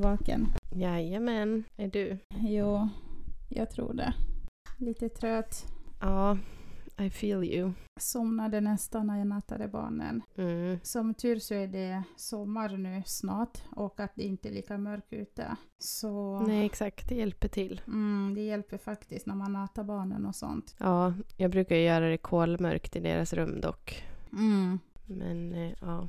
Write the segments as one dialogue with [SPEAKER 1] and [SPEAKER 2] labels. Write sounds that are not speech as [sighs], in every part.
[SPEAKER 1] vaken.
[SPEAKER 2] Jajamän, är du?
[SPEAKER 1] Jo, jag tror det. Lite trött.
[SPEAKER 2] Ja, I feel you.
[SPEAKER 1] Somnade nästan när jag nattade barnen.
[SPEAKER 2] Mm.
[SPEAKER 1] Som tur så är det sommar nu snart och att det inte är lika mörkt ute. Så
[SPEAKER 2] Nej, exakt, det hjälper till.
[SPEAKER 1] mm, det hjälper faktiskt när man nattar barnen och sånt.
[SPEAKER 2] Ja, jag brukar ju göra det kolmörkt i deras rum dock.
[SPEAKER 1] Mm.
[SPEAKER 2] Men eh, ja,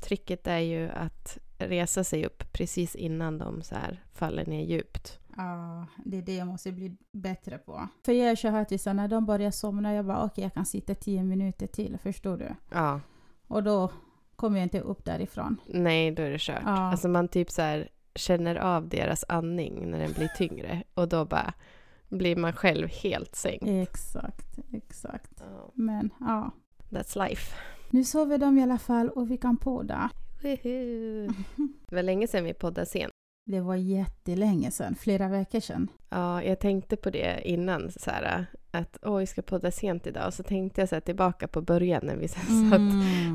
[SPEAKER 2] tricket är ju att resa sig upp precis innan de så här faller ner djupt.
[SPEAKER 1] Ja, det är det jag måste bli bättre på. För jag är så här till så när de börjar somna, jag bara okej jag kan sitta tio minuter till, förstår du?
[SPEAKER 2] Ja,
[SPEAKER 1] Och då kommer jag inte upp därifrån.
[SPEAKER 2] nej, då är det kört.
[SPEAKER 1] Ja.
[SPEAKER 2] Alltså man typ så här känner av deras andning när den blir tyngre och då bara blir man själv helt sänkt.
[SPEAKER 1] Exakt, exakt.
[SPEAKER 2] Ja,
[SPEAKER 1] Men ja,
[SPEAKER 2] That's life.
[SPEAKER 1] nu sover de i alla fall och vi kan podda.
[SPEAKER 2] Woohoo. Det var länge sedan vi poddade sen.
[SPEAKER 1] [laughs] Det var jättelänge sedan, flera veckor sedan.
[SPEAKER 2] Ja, jag tänkte på det innan så här, att oj, jag ska podda sent idag. Så tänkte jag så här, tillbaka på början när vi [laughs] så här,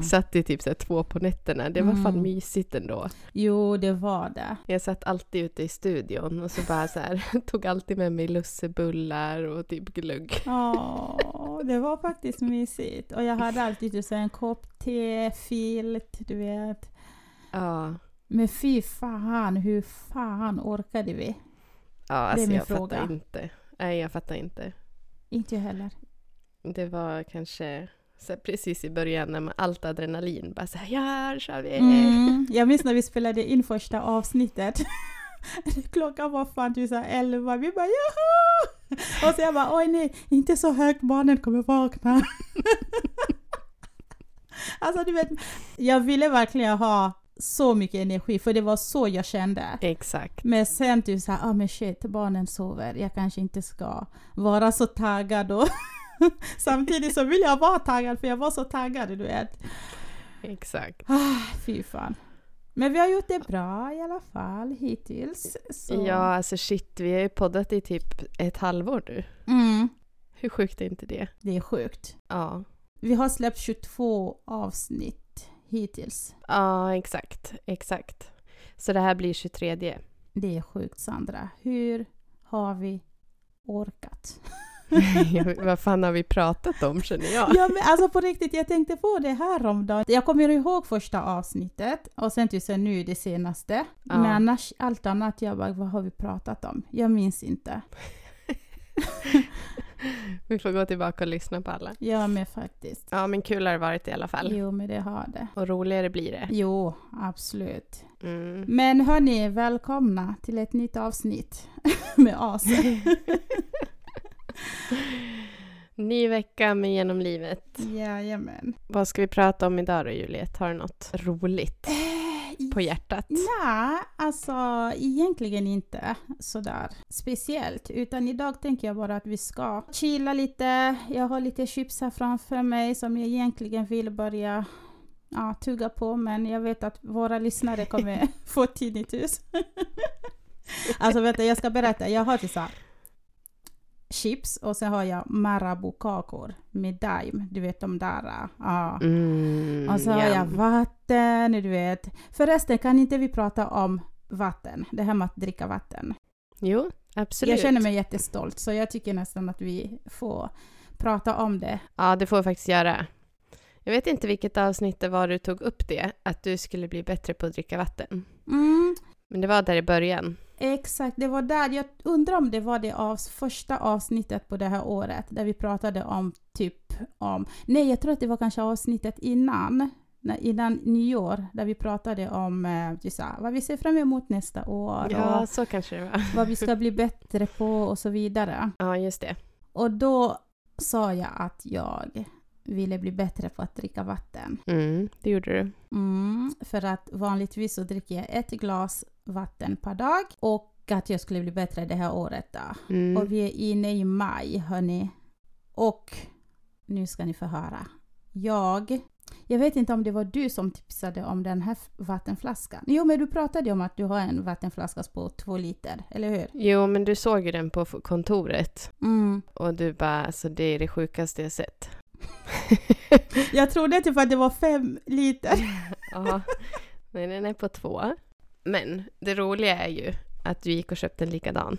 [SPEAKER 2] satt, satt i typ så här, två på nätterna. Det var fan
[SPEAKER 1] Mm.
[SPEAKER 2] mysigt ändå.
[SPEAKER 1] Jo, det var det.
[SPEAKER 2] Jag satt alltid ute i studion och så bara så här, [laughs] tog alltid med mig lussebullar och typ glögg.
[SPEAKER 1] Ja, det var faktiskt mysigt. Och jag hade alltid typ så här en kopp te, filt, du vet.
[SPEAKER 2] Ja,
[SPEAKER 1] Men fy fan, hur fan orkade vi?
[SPEAKER 2] ja alltså
[SPEAKER 1] min
[SPEAKER 2] jag
[SPEAKER 1] fråga.
[SPEAKER 2] fattar inte. Nej, jag fattar inte.
[SPEAKER 1] Inte jag heller.
[SPEAKER 2] Det var kanske så här, precis i början när man, allt adrenalin bara så här, ja, kör vi!
[SPEAKER 1] Mm. Jag minns när vi spelade in första avsnittet. [laughs] Klockan var fan typ så här elva, vi bara joho! Och så jag bara oj nej, inte så högt, barnen kommer vakna. [laughs] alltså du vet, jag ville verkligen ha så mycket energi för det var så jag kände.
[SPEAKER 2] Exakt.
[SPEAKER 1] Men sen typ såhär, ah men shit, barnen sover, jag kanske inte ska vara så taggad då. [laughs] Samtidigt så vill jag vara taggad för jag var så taggad, du vet.
[SPEAKER 2] Exakt.
[SPEAKER 1] Ah, Fy fan. Men vi har gjort det bra i alla fall hittills. Så.
[SPEAKER 2] Ja, alltså shit, vi har ju poddat i typ ett halvår nu.
[SPEAKER 1] Mm,
[SPEAKER 2] Hur sjukt är inte det?
[SPEAKER 1] det är sjukt.
[SPEAKER 2] Ja,
[SPEAKER 1] Vi har släppt 22 avsnitt hittills.
[SPEAKER 2] ja exakt, exakt. Så det här blir
[SPEAKER 1] [laughs]
[SPEAKER 2] 23.
[SPEAKER 1] Det är sjukt Sandra. Hur har vi
[SPEAKER 2] [laughs]
[SPEAKER 1] orkat?
[SPEAKER 2] [laughs] Vad fan har vi pratat om känner
[SPEAKER 1] [laughs]
[SPEAKER 2] jag?
[SPEAKER 1] Ja, men alltså på riktigt, jag tänkte på det här om dagen. Jag kommer ihåg första avsnittet och sen till sen nu det senaste.
[SPEAKER 2] Ja.
[SPEAKER 1] Men annars, allt annat, jag bara, vad har vi pratat om? Jag minns inte.
[SPEAKER 2] Vi får gå tillbaka och lyssna på alla.
[SPEAKER 1] Ja, men faktiskt.
[SPEAKER 2] Ja, men kul har det varit i alla fall.
[SPEAKER 1] Jo, men det har det.
[SPEAKER 2] Och roligare blir det.
[SPEAKER 1] Jo, absolut.
[SPEAKER 2] Mm.
[SPEAKER 1] Men hörni, välkomna till ett nytt avsnitt [laughs] med oss.
[SPEAKER 2] Ny vecka med Genom livet.
[SPEAKER 1] Jajamän.
[SPEAKER 2] Vad ska vi prata om idag då, Juliet? Har du något roligt
[SPEAKER 1] Eh,
[SPEAKER 2] på hjärtat?
[SPEAKER 1] Nej, alltså egentligen inte sådär speciellt. Utan idag tänker jag bara att vi ska chilla lite. Jag har lite chips här framför mig som jag egentligen vill börja ja, tugga på. Men jag vet att våra lyssnare kommer få tinnitus. [laughs] alltså vet du, jag ska berätta. Jag har till så här chips och sen har jag Marabou-kakor med daim. Du vet de där. Ja.
[SPEAKER 2] Mm,
[SPEAKER 1] Och så Alltså, har jag vatten, du vet. Förresten, kan inte vi prata om vatten? Det här med att dricka vatten.
[SPEAKER 2] Jo, absolut.
[SPEAKER 1] Jag känner mig jättestolt, så jag tycker nästan att vi får prata om det.
[SPEAKER 2] Ja, det får vi faktiskt göra. Jag vet inte vilket avsnitt det var du tog upp det, att du skulle bli bättre på att dricka vatten.
[SPEAKER 1] Mm,
[SPEAKER 2] Men det var där i början.
[SPEAKER 1] exakt, det var där. Jag undrar om det var det avs första avsnittet på det här året där vi pratade om typ om... Nej, jag tror att det var kanske avsnittet innan. när- Innan nyår, där vi pratade om eh, just så här, vad vi ser fram emot nästa år
[SPEAKER 2] Ja,
[SPEAKER 1] och
[SPEAKER 2] så kanske det var.
[SPEAKER 1] vad vi ska bli bättre på och så vidare.
[SPEAKER 2] Ja, just det.
[SPEAKER 1] Och då sa jag att jag ville bli bättre på att dricka vatten.
[SPEAKER 2] Mm, det gjorde du.
[SPEAKER 1] Mm, för att vanligtvis så dricker jag ett glas vatten per dag och att jag skulle bli bättre det här året. Då.
[SPEAKER 2] Mm.
[SPEAKER 1] Och vi är inne i maj, hörni. Och nu ska ni få höra. Jag, jag vet inte om det var du som tipsade om den här f- vattenflaskan. Jo, men du pratade ju om att du har en vattenflaska på två liter, eller hur?
[SPEAKER 2] Jo, men du såg ju den på f- kontoret
[SPEAKER 1] Mm.
[SPEAKER 2] och du bara, alltså det är det sjukaste jag sett. [laughs]
[SPEAKER 1] Jag trodde typ att det var fem liter.
[SPEAKER 2] Ja. Nej, den är på två. Men det roliga är ju att du gick och köpte en likadan.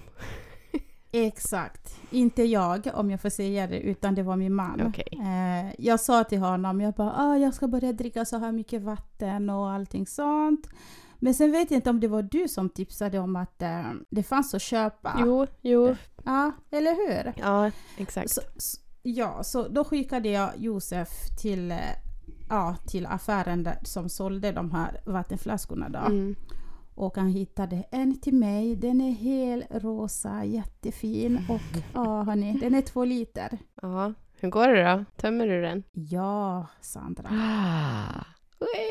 [SPEAKER 1] Exakt. Inte jag, om jag får säga det, utan det var min man.
[SPEAKER 2] Okej.
[SPEAKER 1] Eh, jag sa till honom, jag bara, ah, jag ska börja dricka så här mycket vatten och allting sånt. Men sen vet jag inte om det var du som tipsade om att eh, det fanns att köpa.
[SPEAKER 2] Jo, jo.
[SPEAKER 1] Ja, eller hur?
[SPEAKER 2] Ja, exakt.
[SPEAKER 1] Så, s- ja, så då skickade jag Josef till, eh, ja, till affären där, som sålde de här vattenflaskorna då.
[SPEAKER 2] Mm.
[SPEAKER 1] Och han hittade en till mig. Den är hel rosa, jättefin. Och ja, hörni, den är två liter.
[SPEAKER 2] Ja. Hur går det då? Tömmer du den?
[SPEAKER 1] Ja, Sandra.
[SPEAKER 2] Ah.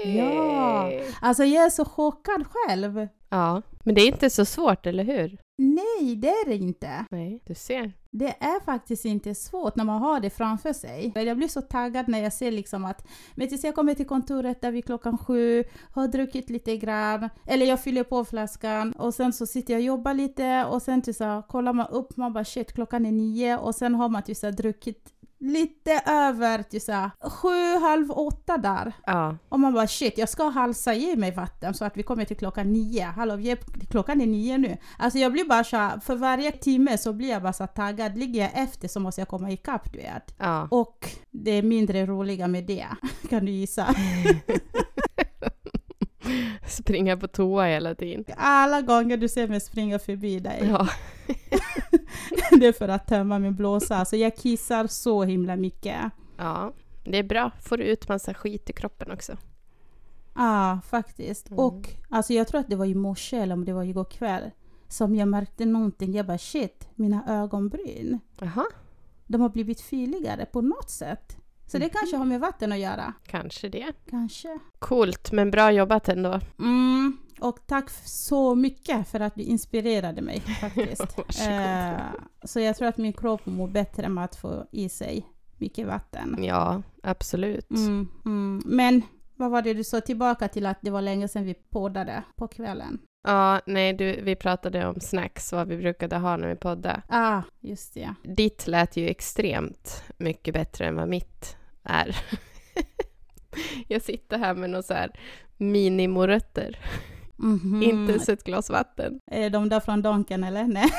[SPEAKER 1] Ja. Alltså jag är så chockad själv.
[SPEAKER 2] ja. Men det är inte så svårt, eller hur?
[SPEAKER 1] Nej, det är det inte.
[SPEAKER 2] Nej, du ser.
[SPEAKER 1] Det är faktiskt inte svårt när man har det framför sig. Jag blir så taggad när jag ser liksom att men tills jag kommer till kontoret där vid klockan sju, har druckit lite grann, eller jag fyller på flaskan och sen så sitter jag och jobbar lite och sen typ så här, kollar man upp, man bara shit klockan är nio och sen har man typ så här, druckit lite över typ så här, sju, halv åtta där.
[SPEAKER 2] Ja.
[SPEAKER 1] Och man bara shit, jag ska halsa i mig vatten så att vi kommer till klockan nio. Hallå, vi är, klockan är nio nu. Alltså jag blir bara så här, för varje timme så blir jag bara så här taggad. Ligger jag efter så måste jag komma ikapp du vet.
[SPEAKER 2] Ja.
[SPEAKER 1] Och det är mindre roliga med det, [laughs] kan du gissa.
[SPEAKER 2] Springa på toa hela tiden.
[SPEAKER 1] Alla gånger du ser mig springa förbi dig,
[SPEAKER 2] Ja.
[SPEAKER 1] [laughs] det är för att tömma min blåsa. Alltså jag kissar så himla mycket. Ja,
[SPEAKER 2] ja. Det är bra. Får du ut massa skit i kroppen också.
[SPEAKER 1] ah, faktiskt.
[SPEAKER 2] Mm.
[SPEAKER 1] Och alltså jag tror att det var i morse eller om det var igår kväll som jag märkte någonting. Jag bara shit, mina ögonbryn.
[SPEAKER 2] Jaha.
[SPEAKER 1] de har blivit fylligare på något sätt. Så det
[SPEAKER 2] Mhm.
[SPEAKER 1] kanske har med vatten att göra.
[SPEAKER 2] Kanske det.
[SPEAKER 1] Kanske.
[SPEAKER 2] Coolt, men bra jobbat ändå.
[SPEAKER 1] Mm. Och tack f- så mycket för att du
[SPEAKER 2] [laughs]
[SPEAKER 1] inspirerade mig
[SPEAKER 2] [laughs]
[SPEAKER 1] faktiskt.
[SPEAKER 2] Varsågod.
[SPEAKER 1] Eh, så jag tror att min kropp mår bättre med att få i sig mycket vatten.
[SPEAKER 2] Ja, absolut.
[SPEAKER 1] Mm, mm. Men vad var det du sa tillbaka till att det var länge sedan vi poddade på kvällen?
[SPEAKER 2] Ja, nej, du, vi pratade om snacks, vad vi brukade ha när vi poddade.
[SPEAKER 1] Ah, just det.
[SPEAKER 2] Ditt lät ju extremt mycket bättre än vad mitt är. [laughs] Jag sitter här med några så här minimorötter,
[SPEAKER 1] Mhm.
[SPEAKER 2] inte ens ett glas vatten. [laughs]
[SPEAKER 1] Är det de där från Donken eller? Nej.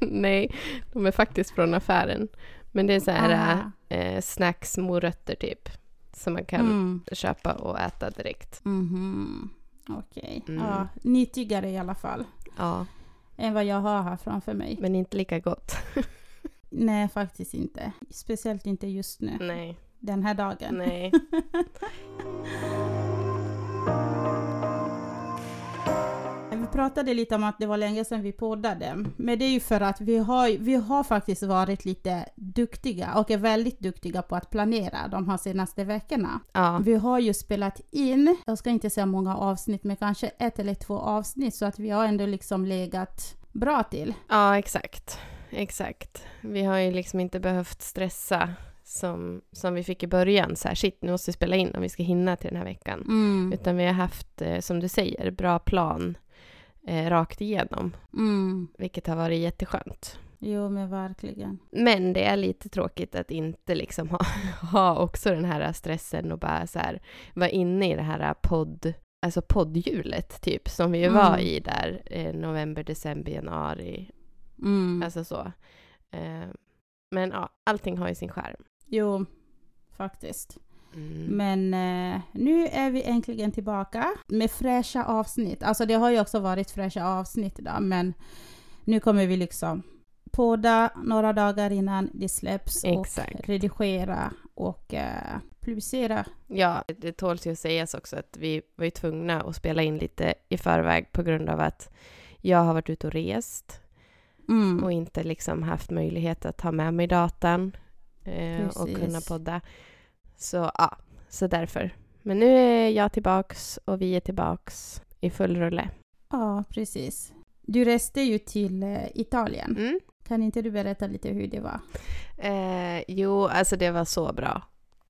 [SPEAKER 2] Nej, de är faktiskt från affären. Men det är så här
[SPEAKER 1] Ah.
[SPEAKER 2] eh, snacksmorötter typ, som man kan
[SPEAKER 1] Mm.
[SPEAKER 2] köpa och äta direkt.
[SPEAKER 1] Mhm. Okej.
[SPEAKER 2] Mm.
[SPEAKER 1] Ja, nyttigare i alla fall.
[SPEAKER 2] Ja,
[SPEAKER 1] än vad jag har här framför mig.
[SPEAKER 2] men inte lika
[SPEAKER 1] [laughs]
[SPEAKER 2] gott.
[SPEAKER 1] Nej, faktiskt inte. Speciellt inte just nu,
[SPEAKER 2] Nej,
[SPEAKER 1] den här dagen.
[SPEAKER 2] nej.
[SPEAKER 1] Vi pratade lite om att det var länge sedan vi poddade, men det är ju för att vi har, vi har faktiskt varit lite duktiga och är väldigt duktiga på att planera de här senaste veckorna.
[SPEAKER 2] Ja,
[SPEAKER 1] Vi har ju spelat in, jag ska inte säga många avsnitt, men kanske ett eller två avsnitt så att vi har ändå liksom legat bra till.
[SPEAKER 2] ja exakt. Exakt. Vi har ju liksom inte behövt stressa som, som vi fick i början. Så här, shit, nu måste vi spela in om vi ska hinna till den här veckan.
[SPEAKER 1] Mm.
[SPEAKER 2] Utan vi har haft, eh, som du säger, bra plan eh, rakt igenom.
[SPEAKER 1] Mm.
[SPEAKER 2] Vilket har varit jätteskönt.
[SPEAKER 1] Jo, men verkligen.
[SPEAKER 2] Men det är lite tråkigt att inte liksom ha, [laughs] ha också den här stressen och bara så här vara inne i det här podd, alltså poddhjulet typ som vi ju
[SPEAKER 1] Mm.
[SPEAKER 2] var i där eh, november, december, januari
[SPEAKER 1] Mm.
[SPEAKER 2] Alltså så. Eh, men ja, allting har ju sin skärm.
[SPEAKER 1] Jo, faktiskt.
[SPEAKER 2] Mm.
[SPEAKER 1] Men eh, nu är vi äntligen tillbaka med fräscha avsnitt. Alltså det har ju också varit fräscha avsnitt idag, men nu kommer vi liksom podda några dagar innan det släpps och
[SPEAKER 2] Exakt.
[SPEAKER 1] redigera och eh, publicera.
[SPEAKER 2] Ja, det tåls ju att sägas också att vi var ju tvungna att spela in lite i förväg på grund av att jag har varit ute och rest
[SPEAKER 1] Mm.
[SPEAKER 2] och inte liksom haft möjlighet att ha med mig datan eh, och
[SPEAKER 1] Precis.
[SPEAKER 2] kunna podda. Så ja, så därför. Men nu är jag tillbaks och vi är tillbaks i full rulle.
[SPEAKER 1] Ja, precis. Du reste ju till eh, Italien.
[SPEAKER 2] Mm.
[SPEAKER 1] Kan inte du berätta lite hur det var?
[SPEAKER 2] Eh, jo, alltså det var så bra.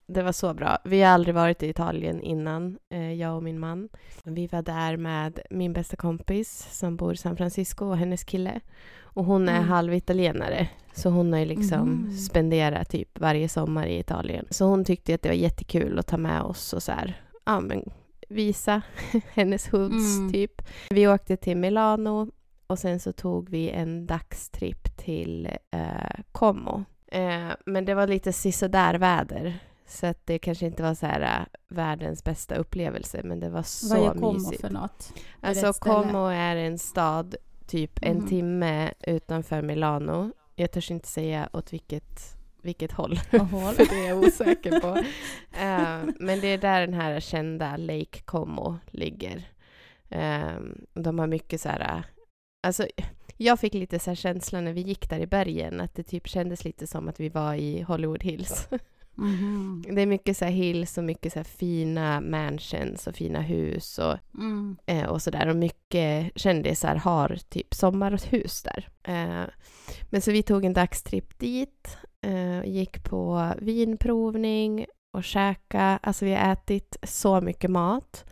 [SPEAKER 2] Det var så bra. Vi har aldrig varit i Italien innan, eh, jag och min man. Vi var där med min bästa kompis som bor i San Francisco och hennes kille. Och hon är
[SPEAKER 1] Mm.
[SPEAKER 2] halvitalienare, så hon har ju liksom
[SPEAKER 1] Mhm.
[SPEAKER 2] spenderat typ varje sommar i Italien. Så hon tyckte att det var jättekul att ta med oss och så här, ja men visa [laughs] hennes hoods
[SPEAKER 1] Mm.
[SPEAKER 2] typ. Vi åkte till Milano och sen så tog vi en dagstripp till eh, Como. Eh, men det var lite sisådär väder. Så att det kanske inte var så här eh, världens bästa upplevelse men det var
[SPEAKER 1] Vad
[SPEAKER 2] så
[SPEAKER 1] jag kommer
[SPEAKER 2] mysigt.
[SPEAKER 1] för något.
[SPEAKER 2] Alltså
[SPEAKER 1] rätt ställe.
[SPEAKER 2] Como är en stad typ en
[SPEAKER 1] Mhm.
[SPEAKER 2] timme utanför Milano. Jag törs inte säga åt vilket, vilket håll.
[SPEAKER 1] Och
[SPEAKER 2] [laughs]
[SPEAKER 1] håll.
[SPEAKER 2] för det är jag osäker på. Eh, men det är där den här kända Lake Como ligger. Eh, de har mycket så här... Alltså, jag fick lite så här känslan när vi gick där i bergen att det typ kändes lite som att vi var i Hollywood Hills.
[SPEAKER 1] [laughs] Mhm.
[SPEAKER 2] Det är mycket så här hills och mycket så här fina mansions och fina hus och
[SPEAKER 1] Mm.
[SPEAKER 2] eh, och sådär. Och mycket kändisar har typ sommarhus där. Eh, men så vi tog en dagstripp dit, eh, och gick på vinprovning och käka. Alltså vi har ätit så mycket mat.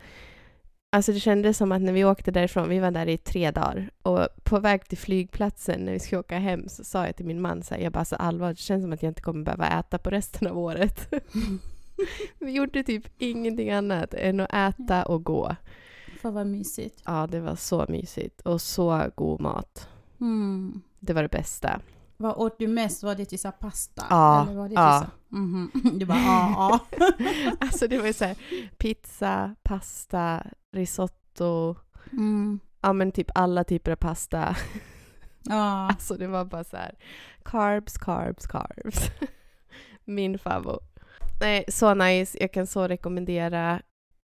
[SPEAKER 2] Alltså det kändes som att när vi åkte därifrån, vi var där i tre dagar och på väg till flygplatsen när vi skulle åka hem så sa jag till min man så här, jag bara så allvarligt, det känns som att jag inte kommer behöva äta på resten av året. vi gjorde typ ingenting annat än att äta och gå.
[SPEAKER 1] Fan vad mysigt.
[SPEAKER 2] Ja, det var så mysigt och så god mat.
[SPEAKER 1] Mm.
[SPEAKER 2] Det var det bästa.
[SPEAKER 1] Vad åt du mest? Var det till så här pasta?
[SPEAKER 2] Ja,
[SPEAKER 1] Eller var det till
[SPEAKER 2] ja.
[SPEAKER 1] så? Mhm. [laughs] Du bara ja, ja.
[SPEAKER 2] [laughs] Alltså det var ju så här, pizza, pasta, risotto,
[SPEAKER 1] Mm.
[SPEAKER 2] ja men typ alla typer av pasta.
[SPEAKER 1] Ja,
[SPEAKER 2] Alltså det var bara så här, carbs, carbs, carbs. [laughs] Min favvo. Nej, så nice. Jag kan så rekommendera.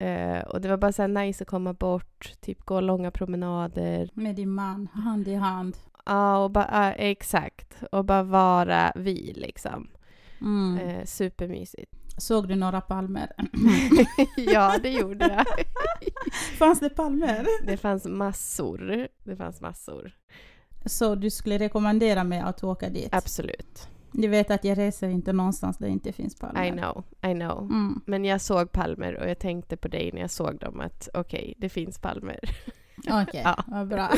[SPEAKER 2] Eh, och det var bara så här nice att komma bort, typ gå långa promenader.
[SPEAKER 1] med din man, hand i hand.
[SPEAKER 2] Ja, och bara, ja, exakt. Och bara vara vi liksom.
[SPEAKER 1] Mm.
[SPEAKER 2] Eh, supermysigt.
[SPEAKER 1] Såg du några palmer?
[SPEAKER 2] [laughs] ja, det gjorde [laughs] jag.
[SPEAKER 1] [laughs] Fanns det palmer?
[SPEAKER 2] Det fanns massor. Det fanns massor.
[SPEAKER 1] Så du skulle rekommendera mig att åka dit?
[SPEAKER 2] Absolut.
[SPEAKER 1] Du vet att jag reser inte någonstans där det inte finns palmer.
[SPEAKER 2] I know, I know.
[SPEAKER 1] Mm.
[SPEAKER 2] Men jag såg palmer och jag tänkte på dig när jag såg dem att okej, det finns palmer.
[SPEAKER 1] Okej,
[SPEAKER 2] Ja.
[SPEAKER 1] vad bra.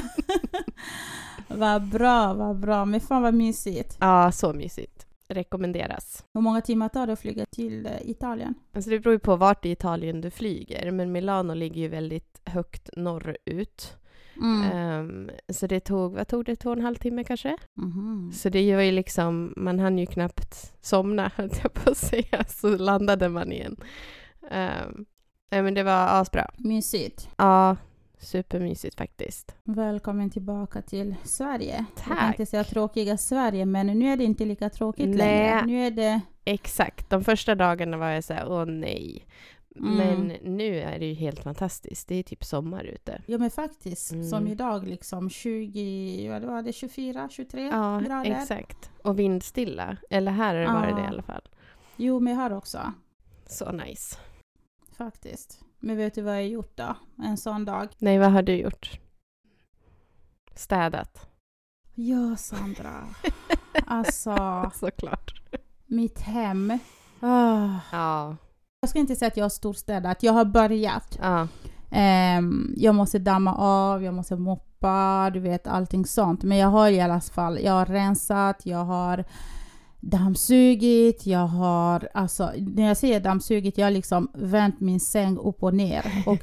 [SPEAKER 1] [laughs] vad bra, vad bra. Men fan vad mysigt.
[SPEAKER 2] Ja, så mysigt. Rekommenderas.
[SPEAKER 1] Hur många timmar tar det att flyga till eh, Italien?
[SPEAKER 2] Alltså det beror ju på vart i Italien du flyger, men Milano ligger ju väldigt högt norrut.
[SPEAKER 1] Mm.
[SPEAKER 2] Ehm, så det tog, vad tog det, två och en halv timme kanske?
[SPEAKER 1] Mhm.
[SPEAKER 2] Så det var ju liksom, man hann ju knappt somna [laughs] höll jag på att säga, så landade man igen. Ehm, Nej men det var asbra.
[SPEAKER 1] Mysigt.
[SPEAKER 2] Ja, supermysigt faktiskt.
[SPEAKER 1] Välkommen tillbaka till Sverige. Jag
[SPEAKER 2] Tack.
[SPEAKER 1] tänkte säga tråkiga Sverige, men nu är det inte lika tråkigt
[SPEAKER 2] Nej.
[SPEAKER 1] längre. Nu är det...
[SPEAKER 2] Exakt, de första dagarna var jag så här, åh nej.
[SPEAKER 1] Mm.
[SPEAKER 2] Men nu är det ju helt fantastiskt, det är typ sommar ute.
[SPEAKER 1] Ja men faktiskt,
[SPEAKER 2] Mm.
[SPEAKER 1] som idag liksom 20, vad var det, 24, 23
[SPEAKER 2] Ja,
[SPEAKER 1] grader?
[SPEAKER 2] exakt. Och vindstilla, eller här har det varit
[SPEAKER 1] Ja.
[SPEAKER 2] det i alla fall.
[SPEAKER 1] Jo men här också,
[SPEAKER 2] Så nice.
[SPEAKER 1] faktiskt. Men vet du vad jag gjort då, en sån dag?
[SPEAKER 2] Nej, vad har du gjort? Städat.
[SPEAKER 1] [laughs] Ja Sandra, alltså
[SPEAKER 2] [laughs] Såklart.
[SPEAKER 1] mitt hem. Ah.
[SPEAKER 2] Ja,
[SPEAKER 1] Jag ska inte säga att jag har storstädat, jag har börjat.
[SPEAKER 2] ja.
[SPEAKER 1] Ehm, jag måste damma av, jag måste moppa, du vet allting sånt. Men jag har i alla fall, jag har rensat, jag har dammsugit, jag har, alltså när jag säger dammsugit, jag har liksom vänt min säng upp och ner. Och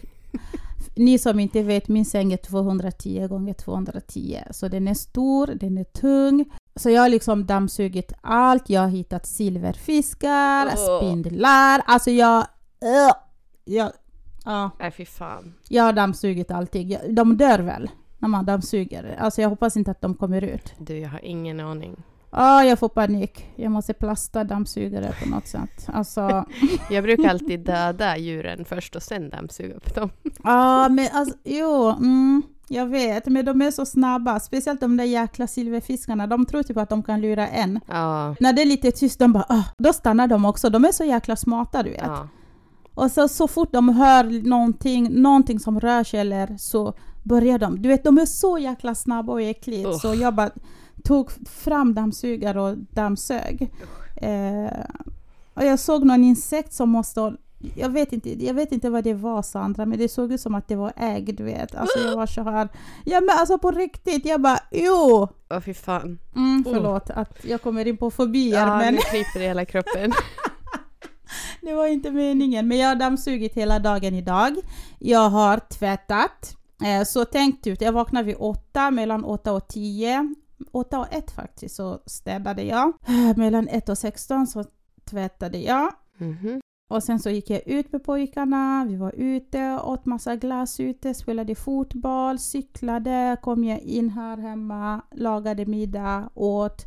[SPEAKER 1] ni som inte vet, min säng är 210 gånger 210. Så den är stor, den är tung. Så jag har liksom dammsugit allt, jag har hittat silverfiskar,
[SPEAKER 2] Åh.
[SPEAKER 1] spindlar, alltså jag... Uh, jag ja.
[SPEAKER 2] Nej, fy fan.
[SPEAKER 1] Jag har dammsugit allting. Jag- De dör väl när man dammsuger? Alltså jag hoppas inte att de kommer ut.
[SPEAKER 2] Du, jag har ingen aning.
[SPEAKER 1] Ja, jag får panik. Jag måste plasta dammsugare på något sätt. Alltså, [laughs]
[SPEAKER 2] Jag brukar alltid döda djuren först och sen dammsuga upp dem.
[SPEAKER 1] ja men alltså, jo, mm, jag vet. Men de är så snabba. Speciellt de där jäkla silverfiskarna. De tror typ att de kan lura en.
[SPEAKER 2] Ja.
[SPEAKER 1] När det är lite tyst, de bara ah, då stannar de också. De är så jäkla smarta du vet.
[SPEAKER 2] ja.
[SPEAKER 1] Och så, så fort de hör någonting, någonting som rör sig eller så börjar de. Du vet, de är så jäkla snabba och äckligt.
[SPEAKER 2] Usch.
[SPEAKER 1] Så jag bara tog fram dammsugare och dammsög. Eh, och jag såg någon insekt som måste ha- jag vet, inte, jag vet inte vad det var Sandra, men det såg ut som att det var ägg, du vet. Alltså jag var så här. Ja men alltså på riktigt, jag bara jo!
[SPEAKER 2] Åh, fy fan.
[SPEAKER 1] Mm, förlåt att jag kommer in på fobier,
[SPEAKER 2] Ja,
[SPEAKER 1] men [laughs]
[SPEAKER 2] nu kryper det i hela kroppen.
[SPEAKER 1] Det var inte meningen. Men jag har dammsugit hela dagen idag. Jag har tvättat. Eh, Så tänkt ut, jag vaknade vid åtta, mellan åtta och tio. Åtta och ett faktiskt så städade jag. [sighs] Eh, Mellan ett och sexton så tvättade jag.
[SPEAKER 2] Mhm.
[SPEAKER 1] Och sen så gick jag ut med pojkarna, vi var ute, åt massa glass ute, spelade fotboll, cyklade, kom jag in här hemma, lagade middag, åt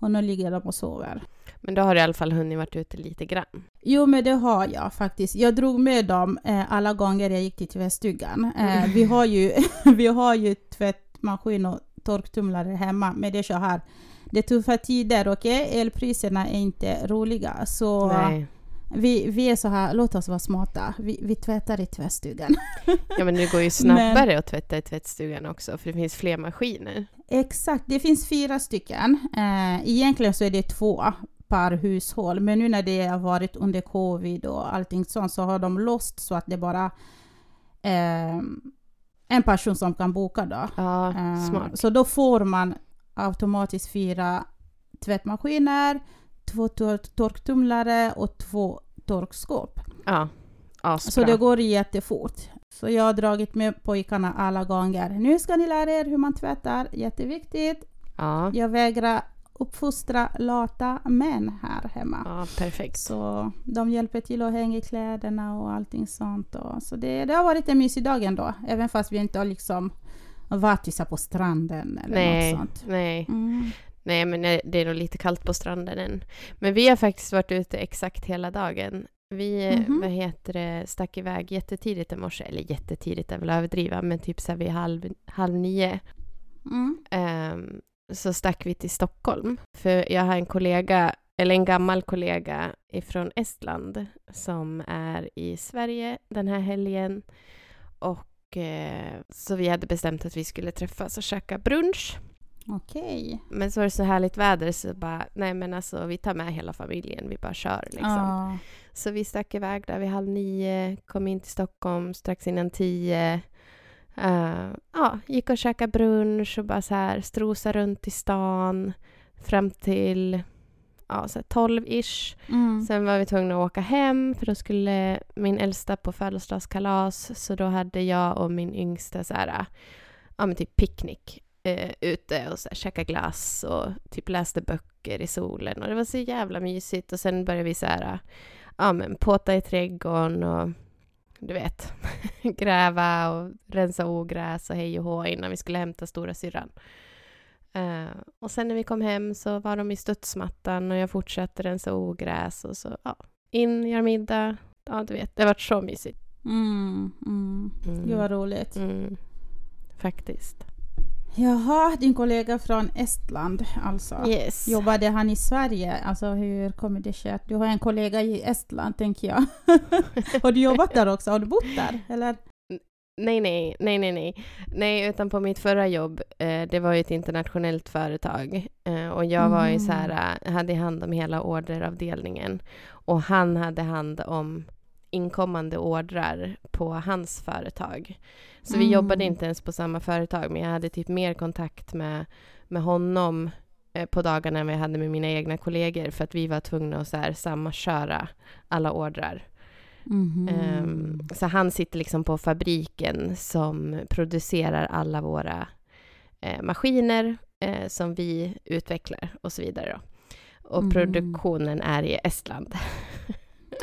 [SPEAKER 1] och nu ligger de och sover.
[SPEAKER 2] Men då har du i alla fall hunnit varit ute lite grann.
[SPEAKER 1] Jo men det har jag faktiskt. Jag drog med dem eh, alla gånger jag gick till tvättstugan. Eh, vi, har ju, [laughs] vi har ju tvättmaskin och torktumlare hemma men det är så här, det är tuffa tider, okej? Elpriserna är inte roliga så
[SPEAKER 2] Nej.
[SPEAKER 1] vi, vi är så här, låt oss vara smarta. Vi, vi tvättar i tvättstugan.
[SPEAKER 2] Ja, men det går ju snabbare att tvätta i tvättstugan också, för det finns fler maskiner.
[SPEAKER 1] Exakt, det finns fyra stycken. Eh, egentligen så är det två per hushåll, men nu när det har varit under covid och allting sånt så har de låst så att det är bara eh, en person som kan boka då.
[SPEAKER 2] Ja,
[SPEAKER 1] Eh,
[SPEAKER 2] smart.
[SPEAKER 1] Så då får man automatiskt fyra tvättmaskiner, två tor- torktumlare och två torkskåp.
[SPEAKER 2] Ja, asbra.
[SPEAKER 1] Så det går jättefort. Så jag har dragit med pojkarna alla gånger. Nu ska ni lära er hur man tvättar, jätteviktigt.
[SPEAKER 2] Ja,
[SPEAKER 1] Jag vägrar uppfostra lata män här hemma.
[SPEAKER 2] ja perfekt.
[SPEAKER 1] Så de hjälper till att hänga i kläderna och allting sånt. Och, så det, det har varit en mysig dag ändå, även fast vi inte har liksom varit så här på stranden eller
[SPEAKER 2] Nej,
[SPEAKER 1] något sånt.
[SPEAKER 2] nej,
[SPEAKER 1] Mm.
[SPEAKER 2] nej, men det det är nog lite kallt på stranden än. Men vi har faktiskt varit ute exakt hela dagen. Vi eh,
[SPEAKER 1] Mhm.
[SPEAKER 2] vad heter det, stack iväg jättetidigt i morse, eller jättetidigt är väl att överdriva, men typ så här vid halv, halv nio.
[SPEAKER 1] Mm.
[SPEAKER 2] ehm, så stack vi till Stockholm. För jag har en kollega, eller en gammal kollega ifrån Estland som är i Sverige den här helgen. Och eh, så vi hade bestämt att vi skulle träffas och käka brunch.
[SPEAKER 1] Okej.
[SPEAKER 2] Men så var det så härligt väder så bara, nej men alltså vi tar med hela familjen, vi bara kör liksom.
[SPEAKER 1] Ja.
[SPEAKER 2] Så vi stack iväg där vid halv nio, kom in till Stockholm strax innan tio. Eh, ja, gick och käkade brunch och bara så här strosa runt i stan fram till ja, så här 12-ish.
[SPEAKER 1] Mm.
[SPEAKER 2] Sen var vi tvungna att åka hem för då skulle min äldsta på födelsedagskalas så då hade jag och min yngsta så här, ja men typ picknick eh, ute och så här, käka glass och typ läste böcker i solen och det var så jävla mysigt och sen började vi så här, ja men påta i trädgården och du vet, [laughs] gräva och rensa ogräs och hej och hå innan vi skulle hämta stora syrran. Eh, och sen när vi kom hem så var de i studsmattan och jag fortsatte rensa ogräs och så ja, in, göra middag. Ja, du vet, det har varit så mysigt.
[SPEAKER 1] Mm. Mm.
[SPEAKER 2] Mm.
[SPEAKER 1] Gud vad roligt.
[SPEAKER 2] Mm. Faktiskt.
[SPEAKER 1] Jaha, din kollega från Estland alltså.
[SPEAKER 2] Yes.
[SPEAKER 1] Jobbade han i Sverige? Alltså hur kommer det sig att du har en kollega i Estland, tänker jag? har du jobbat där också? Har du bott där? Eller?
[SPEAKER 2] Nej, nej, nej, nej, nej. Nej, utan på mitt förra jobb, eh, det var ju ett internationellt företag eh, och jag var ju så här, eh, hade hand om hela orderavdelningen och han hade hand om inkommande ordrar på hans företag. Så vi
[SPEAKER 1] Mm.
[SPEAKER 2] jobbade inte ens på samma företag, men jag hade typ mer kontakt med, med honom eh, på dagarna än vad jag hade med mina egna kollegor för att vi var tvungna att så här samköra alla ordrar. Ehm, Så han sitter liksom på fabriken som producerar alla våra eh, maskiner eh, som vi utvecklar och så vidare. Då. Och
[SPEAKER 1] Mhm.
[SPEAKER 2] produktionen är i [laughs] Estland.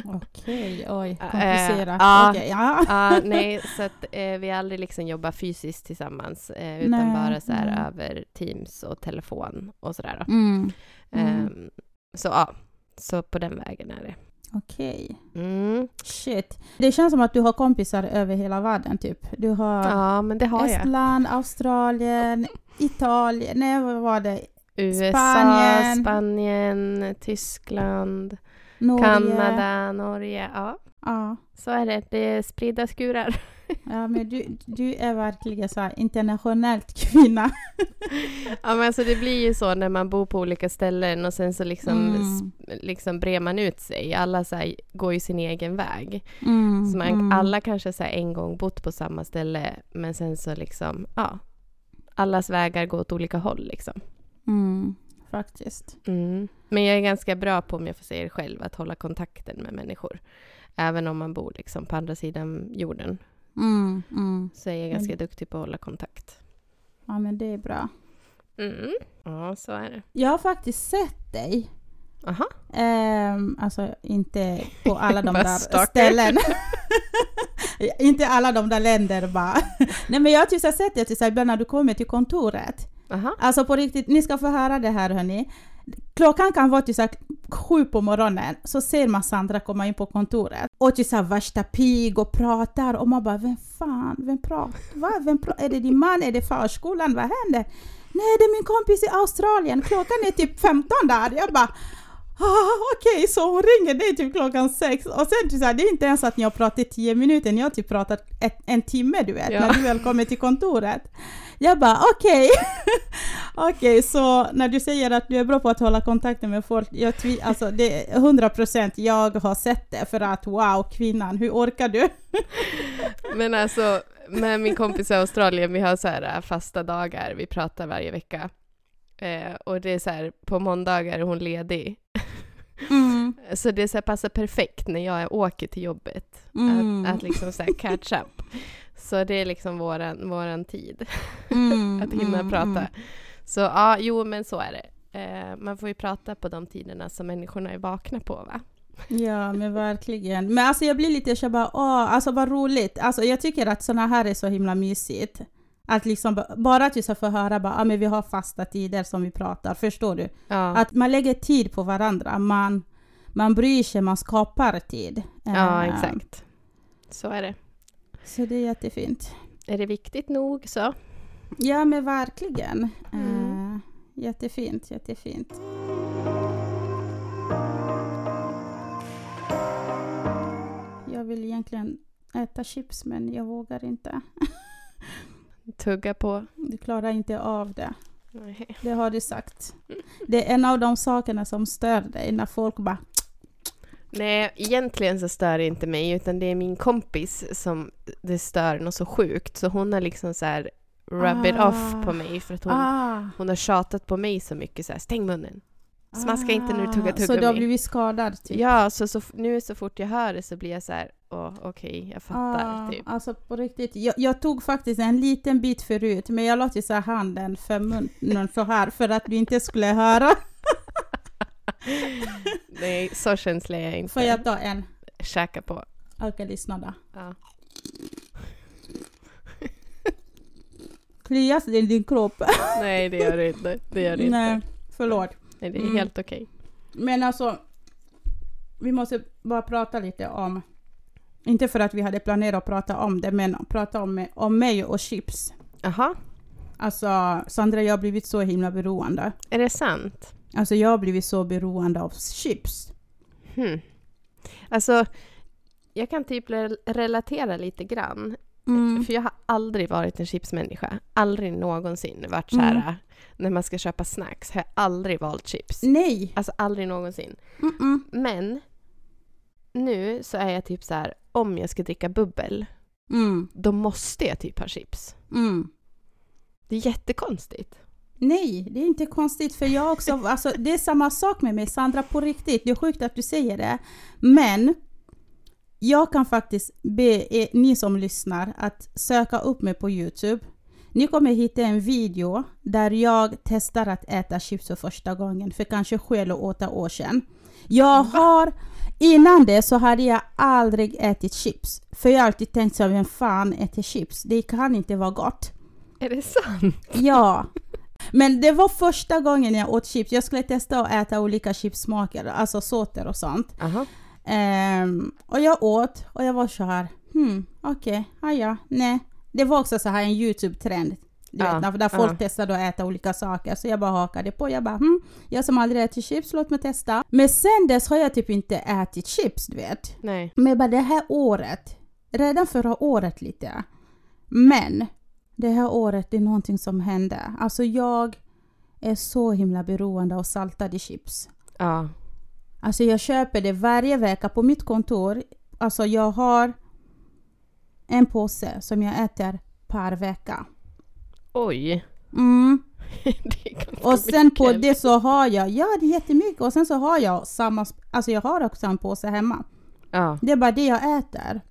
[SPEAKER 1] Okej, oj,
[SPEAKER 2] Eh,
[SPEAKER 1] komplicerat.
[SPEAKER 2] ja.
[SPEAKER 1] Okej, ja.
[SPEAKER 2] Ja, Ah, [laughs] nej, så att eh, vi har aldrig liksom jobbat fysiskt tillsammans eh, utan
[SPEAKER 1] Nej,
[SPEAKER 2] bara så här
[SPEAKER 1] nej.
[SPEAKER 2] över Teams och telefon och sådär. Då.
[SPEAKER 1] Mm. Mm.
[SPEAKER 2] Ehm, så ja, så på den vägen är det.
[SPEAKER 1] Okej,
[SPEAKER 2] Mm.
[SPEAKER 1] shit. Det känns som att du har kompisar över hela världen, typ. Du har
[SPEAKER 2] Ja, men det har jag.
[SPEAKER 1] Estland, Australien, Italien, nej vad var det?
[SPEAKER 2] USA,
[SPEAKER 1] Spanien.
[SPEAKER 2] Spanien Tyskland.
[SPEAKER 1] Norge.
[SPEAKER 2] Kanada, Norge, ja.
[SPEAKER 1] Ja.
[SPEAKER 2] Så är det, det är spridda skurar. [laughs]
[SPEAKER 1] Ja, men du, du är verkligen så här internationellt kvinna.
[SPEAKER 2] Ja, men alltså det blir ju så när man bor på olika ställen och sen så liksom,
[SPEAKER 1] Mm.
[SPEAKER 2] s- liksom brer man ut sig. Alla så här, går ju sin egen väg.
[SPEAKER 1] Mm,
[SPEAKER 2] Så man,
[SPEAKER 1] mm.
[SPEAKER 2] alla kanske så här, en gång bott på samma ställe men sen så liksom, ja. Allas vägar går åt olika håll liksom.
[SPEAKER 1] Mm, faktiskt.
[SPEAKER 2] Mm. Men jag är ganska bra på, om jag får säga det själv, att hålla kontakten med människor. Även om man bor liksom på andra sidan jorden
[SPEAKER 1] Mm, mm.
[SPEAKER 2] så är jag ganska duktig på att hålla kontakt.
[SPEAKER 1] Ja, men det är bra.
[SPEAKER 2] Mm. Ja, så är det.
[SPEAKER 1] Jag har faktiskt sett dig.
[SPEAKER 2] Aha.
[SPEAKER 1] Ehm, alltså inte på alla
[SPEAKER 2] [laughs]
[SPEAKER 1] de
[SPEAKER 2] Bara
[SPEAKER 1] där
[SPEAKER 2] stalker.
[SPEAKER 1] ställen. [laughs] inte alla de där länder bara. [laughs] Nej men jag har typ så här sett dig typ så här ibland när du kommer till kontoret.
[SPEAKER 2] Aha.
[SPEAKER 1] Alltså på riktigt, ni ska få höra det här hörni. Klockan kan vara typ så här sju på morgonen, så ser man Sandra komma in på kontoret. Och typ så här värsta pigg och pratar och man bara vem fan, vem pratar, va? Vem pra- är det din man, är det förskolan, vad händer? Nej det är min kompis i Australien, klockan är typ 15 där. Jag bara Ah, Okej, så hon ringer dig typ klockan sex och sen typ så här, det är inte ens att ni har pratat i tio minuter, ni har typ pratat ett, en timme du vet,
[SPEAKER 2] Ja.
[SPEAKER 1] när du väl kommer till kontoret. Jag bara okej, [laughs] okej så när du säger att du är bra på att hålla kontakten med folk, jag tvi- alltså det är 100% jag har sett det för att wow kvinnan, hur orkar du?
[SPEAKER 2] Men alltså, med min kompis i Australien, vi har så här äh, fasta dagar, vi pratar varje vecka. Eh, och det är så här, på måndagar är hon ledig. Så det så här passar perfekt när jag åker till jobbet,
[SPEAKER 1] Mm.
[SPEAKER 2] att, att liksom så här catch up. Så det är liksom våran, våran tid,
[SPEAKER 1] Mm,
[SPEAKER 2] att hinna
[SPEAKER 1] mm,
[SPEAKER 2] prata.
[SPEAKER 1] mm.
[SPEAKER 2] Så ja, jo men så är det. Eh, man får ju prata på de tiderna som människorna är vakna på va?
[SPEAKER 1] Ja men verkligen. Men alltså jag blir lite så bara, åh, alltså vad roligt. Alltså jag tycker att sådana här är så himla mysigt. Att liksom ba- bara att vi ska få höra bara, ah, men vi har fasta tider som vi pratar, förstår du?
[SPEAKER 2] Ja,
[SPEAKER 1] Att man lägger tid på varandra, man, man bryr sig, man skapar tid.
[SPEAKER 2] ja
[SPEAKER 1] Eh,
[SPEAKER 2] exakt. Så är det.
[SPEAKER 1] Så det är jättefint.
[SPEAKER 2] Är det viktigt nog så?
[SPEAKER 1] Ja men verkligen.
[SPEAKER 2] Mm.
[SPEAKER 1] Eh, jättefint, jättefint. Jag vill egentligen äta chips men jag vågar inte.
[SPEAKER 2] Tugga på?
[SPEAKER 1] Du klarar inte av det.
[SPEAKER 2] Nej.
[SPEAKER 1] Det har du sagt. Det är en av de sakerna som stör dig när folk bara
[SPEAKER 2] Nej, egentligen så stör det inte mig, utan det är min kompis som det stör något så sjukt. Så hon har liksom så här rub it
[SPEAKER 1] Ah.
[SPEAKER 2] off på mig för att hon,
[SPEAKER 1] ah,
[SPEAKER 2] hon har tjatat på mig så mycket så här, stäng munnen. Smaska inte när du tuggar
[SPEAKER 1] Ah. Så du har
[SPEAKER 2] tuggummi.
[SPEAKER 1] blivit skadad? Typ.
[SPEAKER 2] Ja, så, så f- nu så fort jag hör det så blir jag så här, åh okej, jag fattar.
[SPEAKER 1] Ah,
[SPEAKER 2] Typ.
[SPEAKER 1] Alltså på riktigt. Jag, jag tog faktiskt en liten bit förut, men jag låter så här handen
[SPEAKER 2] [laughs]
[SPEAKER 1] för munnen så här för att du inte skulle höra.
[SPEAKER 2] Nej, så känslig är jag inte.
[SPEAKER 1] Får jag ta en?
[SPEAKER 2] Käka på.
[SPEAKER 1] Okej, lyssna då.
[SPEAKER 2] Ja.
[SPEAKER 1] Klias det i din kropp? [laughs]
[SPEAKER 2] Nej, det gör det inte. Det gör det inte.
[SPEAKER 1] Nej,
[SPEAKER 2] Nej.
[SPEAKER 1] förlåt.
[SPEAKER 2] det är
[SPEAKER 1] Mm.
[SPEAKER 2] helt okej.
[SPEAKER 1] Men alltså, vi måste bara prata lite om, inte för att vi hade planerat att prata om det, men att prata om, om mig och chips.
[SPEAKER 2] Jaha,
[SPEAKER 1] Alltså Sandra, jag har blivit så himla beroende.
[SPEAKER 2] är det sant?
[SPEAKER 1] Alltså jag har blivit så beroende av chips.
[SPEAKER 2] Hmm. Alltså, jag kan typ rel- relatera lite grann.
[SPEAKER 1] Mm.
[SPEAKER 2] För jag har aldrig varit en chipsmänniska. Aldrig någonsin varit så här.
[SPEAKER 1] Mm.
[SPEAKER 2] när man ska köpa snacks har jag aldrig valt chips.
[SPEAKER 1] Nej!
[SPEAKER 2] Alltså aldrig någonsin.
[SPEAKER 1] Mm-mm.
[SPEAKER 2] Men nu så är jag typ så här. om jag ska dricka bubbel,
[SPEAKER 1] Mm.
[SPEAKER 2] då måste jag typ ha chips.
[SPEAKER 1] Mm.
[SPEAKER 2] Det är jättekonstigt.
[SPEAKER 1] Nej, det är inte konstigt för jag också, [laughs] alltså det är samma sak med mig Sandra på riktigt, det är sjukt att du säger det. Men jag kan faktiskt be er, ni som lyssnar att söka upp mig på Youtube. Ni kommer hitta en video där jag testar att äta chips för första gången för kanske sju eller åtta år sedan. Jag har, innan det så hade jag aldrig ätit chips. För jag har alltid tänkt så här, vem fan äter chips? Det kan inte vara gott.
[SPEAKER 2] Är det sant?
[SPEAKER 1] Ja. Men det var första gången jag åt chips. Jag skulle testa att äta olika chipssmaker, alltså såter och sånt.
[SPEAKER 2] Aha.
[SPEAKER 1] Ehm, och jag åt och jag var så här, hmm, okej, okay, ja, nej. Det var också så här en YouTube-trend. Du
[SPEAKER 2] Ja,
[SPEAKER 1] vet, när, där folk
[SPEAKER 2] ja.
[SPEAKER 1] testade att äta olika saker. Så jag bara hakade på. Jag bara, hmm, jag som aldrig ätit chips, låt mig testa. Men sen dess har jag typ inte ätit chips, du vet.
[SPEAKER 2] Nej.
[SPEAKER 1] Men bara det här året, redan förra året lite. Men det här året det är någonting som hände. Alltså jag är så himla beroende av saltade chips.
[SPEAKER 2] Ja.
[SPEAKER 1] Alltså jag köper det varje vecka på mitt kontor. Alltså jag har en påse som jag äter per vecka.
[SPEAKER 2] Oj.
[SPEAKER 1] Mm.
[SPEAKER 2] [laughs] det är ganska
[SPEAKER 1] Och sen på
[SPEAKER 2] mycket.
[SPEAKER 1] det så har jag, ja det är jättemycket och sen så har jag samma, sp- alltså jag har också en påse hemma.
[SPEAKER 2] Ja.
[SPEAKER 1] Det är bara det jag äter.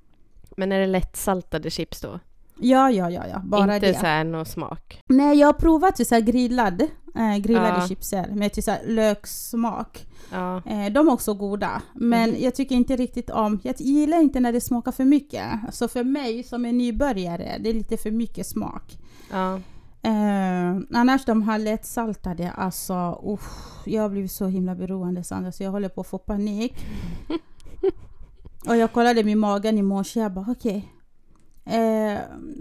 [SPEAKER 2] Men är det lättsaltade chips då?
[SPEAKER 1] Ja, ja, ja, ja, bara
[SPEAKER 2] Inte
[SPEAKER 1] det.
[SPEAKER 2] så här någon smak?
[SPEAKER 1] Nej, jag har provat ju så här grillad, eh, grillade
[SPEAKER 2] Ja.
[SPEAKER 1] chipser med typ så här löksmak.
[SPEAKER 2] Ja.
[SPEAKER 1] Eh, de är också goda, men
[SPEAKER 2] Mm.
[SPEAKER 1] jag tycker inte riktigt om, jag gillar inte när det smakar för mycket. Så för mig som är nybörjare, det är lite för mycket smak.
[SPEAKER 2] ja.
[SPEAKER 1] Eh, annars de här lättsaltade, alltså usch, jag har blivit så himla beroende Sandra så jag håller på att få panik. Och jag kollade min magen i morse, jag bara okej. Eh,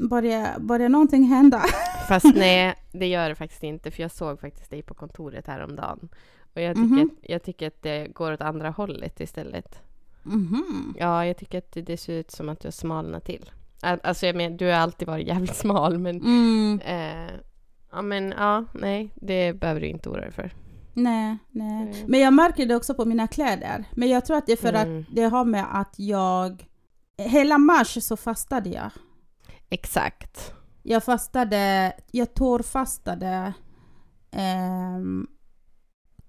[SPEAKER 1] börjar, börjar någonting hända?
[SPEAKER 2] Fast nej, det gör det faktiskt inte. För jag såg faktiskt dig på kontoret häromdagen. Och jag tycker,
[SPEAKER 1] Mhm.
[SPEAKER 2] att, jag tycker att det går åt andra hållet istället.
[SPEAKER 1] Mhm.
[SPEAKER 2] Ja, jag tycker att det, det ser ut som att du har smalnat till. Ä- Alltså jag menar, du har alltid varit jävligt [laughs] smal men...
[SPEAKER 1] Mm.
[SPEAKER 2] Eh, ja men ja, nej, det behöver du inte oroa dig för.
[SPEAKER 1] Nej, nej.
[SPEAKER 2] Mm.
[SPEAKER 1] Men jag märker det också på mina kläder. Men jag tror att det är för
[SPEAKER 2] Mm.
[SPEAKER 1] att det har med att jag... Hela mars så fastade jag.
[SPEAKER 2] Exakt.
[SPEAKER 1] Jag fastade, jag torrfastade ehm,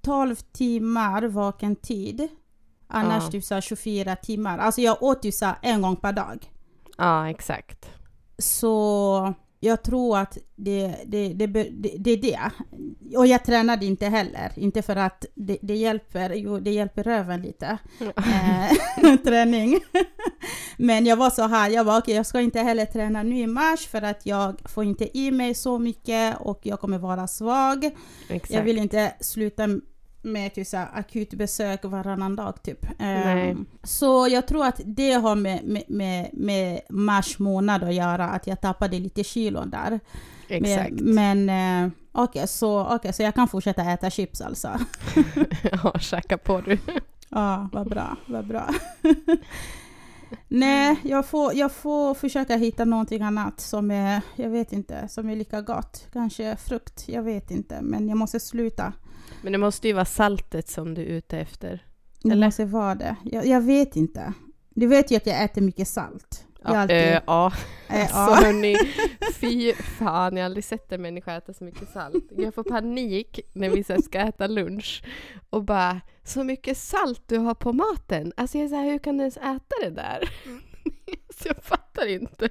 [SPEAKER 1] 12 timmar vaken tid. Annars
[SPEAKER 2] Ja.
[SPEAKER 1] typ så här 24 timmar. Alltså jag åt ju så här en gång per dag.
[SPEAKER 2] Ja, exakt.
[SPEAKER 1] Så jag tror att det, det, det, be- det, det är det. Och jag tränade inte heller. Inte för att det, det hjälper, jo det hjälper röven lite. Eh, [laughs] träning. Men jag var så här, jag var okej jag ska inte heller träna nu i mars för att jag får inte i mig så mycket och jag kommer vara svag.
[SPEAKER 2] exakt.
[SPEAKER 1] Jag vill inte sluta med typ så här, akutbesök varannan dag typ. Eh,
[SPEAKER 2] Nej.
[SPEAKER 1] Så jag tror att det har med, med, med, med mars månad att göra, att jag tappade lite kilon där.
[SPEAKER 2] Exakt.
[SPEAKER 1] Men, men eh, okej, så, okay, så jag kan fortsätta äta chips alltså.
[SPEAKER 2] [laughs] ja, tjacka på du.
[SPEAKER 1] Ja, vad bra, vad bra. [laughs] Nej, jag får, jag får försöka hitta någonting annat som är, jag vet inte, som är lika gott. Kanske frukt, jag vet inte. Men jag måste sluta.
[SPEAKER 2] Men det måste ju vara saltet som du är ute efter.
[SPEAKER 1] Det
[SPEAKER 2] Eller?
[SPEAKER 1] måste vara det. Jag, jag vet inte. Du vet ju att jag äter mycket salt. Jag alltid,
[SPEAKER 2] eh, ja.
[SPEAKER 1] eh, ja.
[SPEAKER 2] Alltså hörni, fy fan, jag har aldrig sett en människa äta så mycket salt. Jag får panik när vi så här ska äta lunch och bara så mycket salt du har på maten. Alltså jag är så här, hur kan du ens äta det där? [laughs] Så jag fattar inte.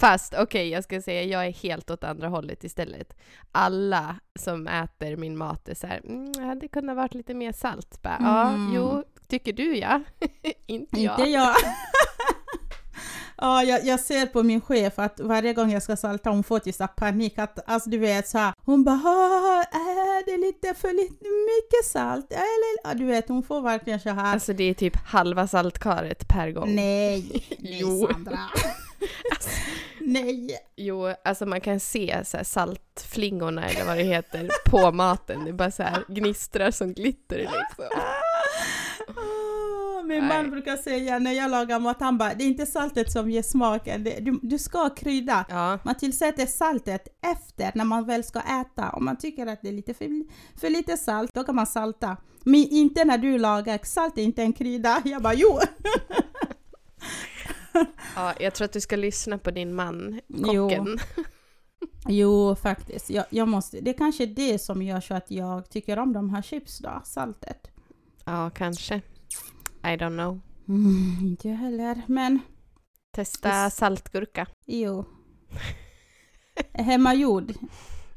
[SPEAKER 2] Fast okej, jag ska säga jag är helt åt andra hållet istället. Alla som äter min mat är så här, mm, det hade kunnat varit lite mer salt. Bara,
[SPEAKER 1] Mm.
[SPEAKER 2] Ja, jo, tycker du ja. [laughs] inte jag.
[SPEAKER 1] [laughs] Inte jag. [laughs] Ja, jag, jag ser på min chef att varje gång jag ska salta hon får typ så här panik. Att, alltså du vet så här, hon bara "Ah, är det lite för lite mycket salt? Eller, ja, du vet hon får verkligen så här.
[SPEAKER 2] Alltså det är typ halva saltkaret per gång.
[SPEAKER 1] nej, nej
[SPEAKER 2] Jo. [laughs] Alltså.
[SPEAKER 1] Sandra. [laughs] nej.
[SPEAKER 2] Jo, alltså man kan se så här saltflingorna eller vad det heter [laughs] på maten. Det är bara så här gnistrar som glitter
[SPEAKER 1] Alltså.
[SPEAKER 2] liksom.
[SPEAKER 1] Ah, Min
[SPEAKER 2] Nej.
[SPEAKER 1] man brukar säga när jag lagar mat, han bara, det är inte saltet som ger smaken, det, du, du ska krydda.
[SPEAKER 2] Ja,
[SPEAKER 1] Man tillsätter saltet efter när man väl ska äta. Om man tycker att det är lite för, för lite salt, då kan man salta. Men inte när du lagar, salt är inte en krydda. [laughs] Jag bara jo!
[SPEAKER 2] ja, jag tror att du ska lyssna på din man,
[SPEAKER 1] Jo.
[SPEAKER 2] kocken.
[SPEAKER 1] Jo, faktiskt. Jag, jag måste, det är kanske det som gör så att jag tycker om de här chips då, saltet.
[SPEAKER 2] Ja, kanske. I don't know.
[SPEAKER 1] Mm, inte jag heller, men
[SPEAKER 2] Testa
[SPEAKER 1] Yes.
[SPEAKER 2] saltgurka.
[SPEAKER 1] jo. [laughs] Hemmagjord,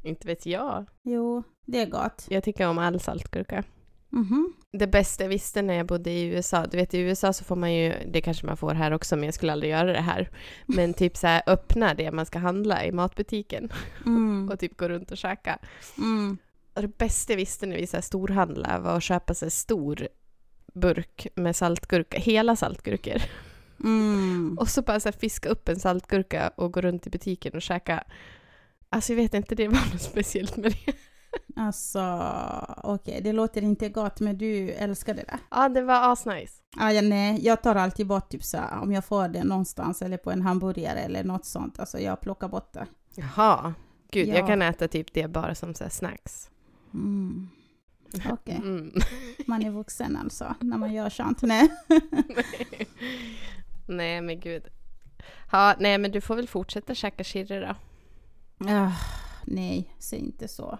[SPEAKER 2] Inte vet jag.
[SPEAKER 1] jo, det är gott.
[SPEAKER 2] Jag tycker om all saltgurka.
[SPEAKER 1] Mhm.
[SPEAKER 2] Det bästa jag visste när jag bodde i USA, du vet i USA så får man ju, det kanske man får här också men jag skulle aldrig göra det här. Men typ så här öppna det man ska handla i matbutiken
[SPEAKER 1] Mm.
[SPEAKER 2] och typ gå runt och käka.
[SPEAKER 1] Mm.
[SPEAKER 2] Och det bästa jag visste när vi så här storhandlade var att köpa sig stor burk med saltgurka, hela saltgurkor.
[SPEAKER 1] Mm.
[SPEAKER 2] Och så bara så här fiska upp en saltgurka och gå runt i butiken och käka. Alltså jag vet inte, det var [laughs] något speciellt med det.
[SPEAKER 1] Alltså, okej, det låter inte gott, men du älskar det där.
[SPEAKER 2] Ja, det var asnice.
[SPEAKER 1] Ah, ja, nej, jag tar alltid bort typ så här, om jag får det någonstans eller på en hamburgare eller något sånt. Alltså jag plockar bort det.
[SPEAKER 2] Jaha. Gud,
[SPEAKER 1] Ja.
[SPEAKER 2] jag kan äta typ det bara som så här snacks.
[SPEAKER 1] Mm. Okej,
[SPEAKER 2] Mm. [laughs]
[SPEAKER 1] man är vuxen alltså när man gör sånt. Nej.
[SPEAKER 2] nej, men gud. Ja, nej, men du får väl fortsätta käka chirre då.
[SPEAKER 1] Ah, nej, säg inte så.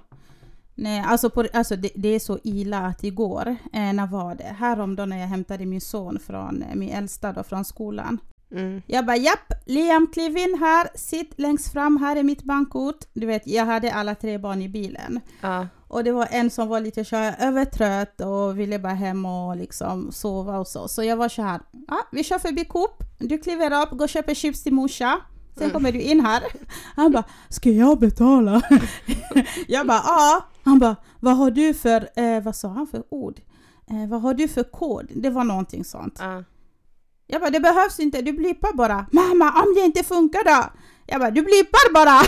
[SPEAKER 1] Nej, alltså, på, alltså det, det är så illa att igår, eh, när var det? Häromdagen när jag hämtade min son från, eh, min äldsta då, från skolan.
[SPEAKER 2] Mm.
[SPEAKER 1] Jag bara japp, Liam kliv in här, sitt längst fram, här är mitt bankkort. Du vet, jag hade alla tre barn i bilen.
[SPEAKER 2] Ja.
[SPEAKER 1] Och det var en som var lite så här övertrött och ville bara hem och liksom sova och så. Så jag var så här, ah, vi kör förbi Coop, du kliver upp, går och köper chips till morsa. Sen
[SPEAKER 2] Mm.
[SPEAKER 1] kommer du in här. Han bara, ska jag betala? [laughs] jag bara, ja. Han bara, vad har du för, eh, vad sa han för ord? Eh, vad har du för kod? Det var någonting sånt.
[SPEAKER 2] Ja.
[SPEAKER 1] Jag bara, det behövs inte, du blippar bara. Mamma, om det inte funkar då? Jag bara, du blippar bara!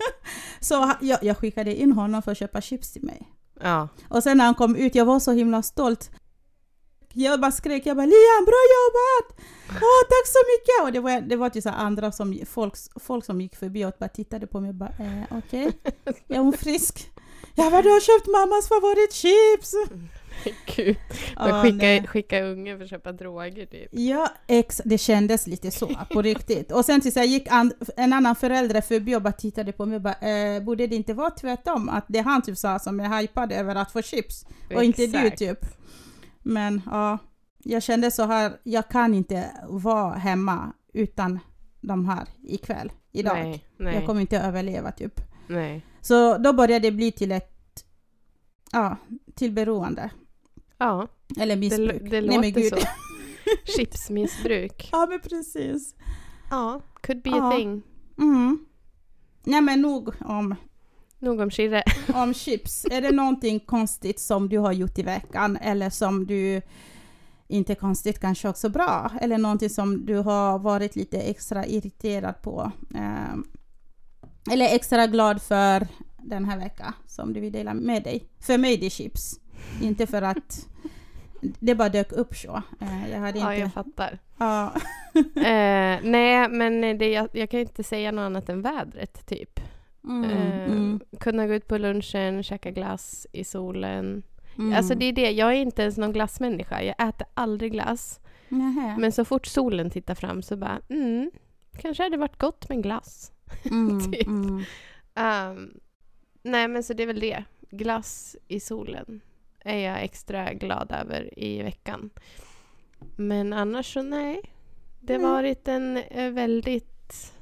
[SPEAKER 1] [laughs] så ha- jag, jag skickade in honom för att köpa chips till mig.
[SPEAKER 2] [laughs] ja.
[SPEAKER 1] Och sen när han kom ut, jag var så himla stolt. Jag bara skrek, jag bara Liam, bra jobbat! Åh, tack så mycket! Och det var, det var typ så här andra som, folk, folk som gick förbi och bara tittade på mig och bara, eh, okej, är hon frisk? Ja, vad du har köpt mammas favoritchips!
[SPEAKER 2] Gud.
[SPEAKER 1] Ah,
[SPEAKER 2] Men
[SPEAKER 1] nej.
[SPEAKER 2] skicka, skicka ungen för att köpa droger typ.
[SPEAKER 1] Ja, ex, det kändes lite så
[SPEAKER 2] [laughs]
[SPEAKER 1] på riktigt. Och sen tills jag gick an, en annan förälder förbi och bara tittade på mig och bara, eh, borde det inte vara tvärtom? Att det han typ sa som jag hypade över att få chips och inte du
[SPEAKER 2] Exakt.
[SPEAKER 1] typ. Men ja, jag kände så här, jag kan inte vara hemma utan de här ikväll, idag.
[SPEAKER 2] Nej, nej,
[SPEAKER 1] Jag kommer inte överleva typ.
[SPEAKER 2] nej.
[SPEAKER 1] Så då började det bli till ett, ja, till beroende.
[SPEAKER 2] Ja,
[SPEAKER 1] Eller
[SPEAKER 2] det,
[SPEAKER 1] missbruk.
[SPEAKER 2] lå- det
[SPEAKER 1] Nej, men
[SPEAKER 2] låter
[SPEAKER 1] gud.
[SPEAKER 2] så. Chipsmissbruk.
[SPEAKER 1] [laughs] Ja men precis.
[SPEAKER 2] Ja, could be
[SPEAKER 1] Ja.
[SPEAKER 2] a thing.
[SPEAKER 1] Mm. Nej men nog om,
[SPEAKER 2] Nog om Chirre.
[SPEAKER 1] om chips. Är det någonting konstigt som du har gjort i veckan eller som du inte konstigt kanske också bra eller någonting som du har varit lite extra irriterad på ehm, eller extra glad för den här veckan som du vill dela med dig. För mig det är chips, inte för att det bara dök upp så. Eh, jag
[SPEAKER 2] [laughs]
[SPEAKER 1] hade
[SPEAKER 2] Ja,
[SPEAKER 1] inte...
[SPEAKER 2] jag fattar.
[SPEAKER 1] Ja,
[SPEAKER 2] Eh, nej, men det, jag, jag kan inte säga något annat än vädret typ.
[SPEAKER 1] mm,
[SPEAKER 2] Eh,
[SPEAKER 1] mm,
[SPEAKER 2] Kunna gå ut på lunchen, käka glass i solen.
[SPEAKER 1] mm.
[SPEAKER 2] Alltså det är det, jag är inte ens någon glassmänniska. Jag äter aldrig glass.
[SPEAKER 1] Nähä.
[SPEAKER 2] Men så fort solen tittar fram så bara, mm, kanske hade varit gott med en glass. [laughs]
[SPEAKER 1] Mm,
[SPEAKER 2] typ.
[SPEAKER 1] mm.
[SPEAKER 2] Ehm, nej, men så det är väl det. Glass i solen är jag extra glad över i veckan. Men annars så nej. Det har
[SPEAKER 1] Nej.
[SPEAKER 2] varit en eh, väldigt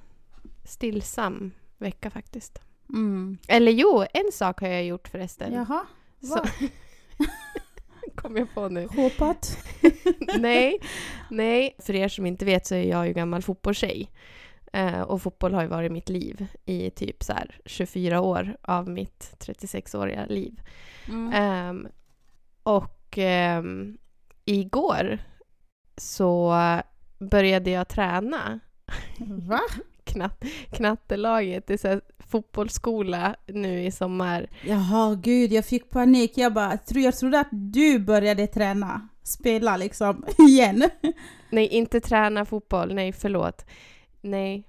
[SPEAKER 2] stillsam vecka faktiskt.
[SPEAKER 1] Mm.
[SPEAKER 2] Eller jo, en sak har jag gjort förresten.
[SPEAKER 1] Jaha,
[SPEAKER 2] Så- [laughs] Kom jag på nu.
[SPEAKER 1] hoppat.
[SPEAKER 2] [laughs] nej, nej. För er som inte vet så är jag ju gammal fotbollstjej. Eh, och fotboll har ju varit mitt liv i typ så här 24 år av mitt 36-åriga liv.
[SPEAKER 1] Mm.
[SPEAKER 2] Ehm, och ehm, igår så började jag träna
[SPEAKER 1] Va?
[SPEAKER 2] knatt, knattelaget i så här fotbollsskola nu i sommar.
[SPEAKER 1] Jaha, gud, jag fick panik. Jag bara, tro- jag trodde att du började träna, spela liksom, [laughs] igen.
[SPEAKER 2] Nej, inte träna fotboll. Nej, förlåt. Nej,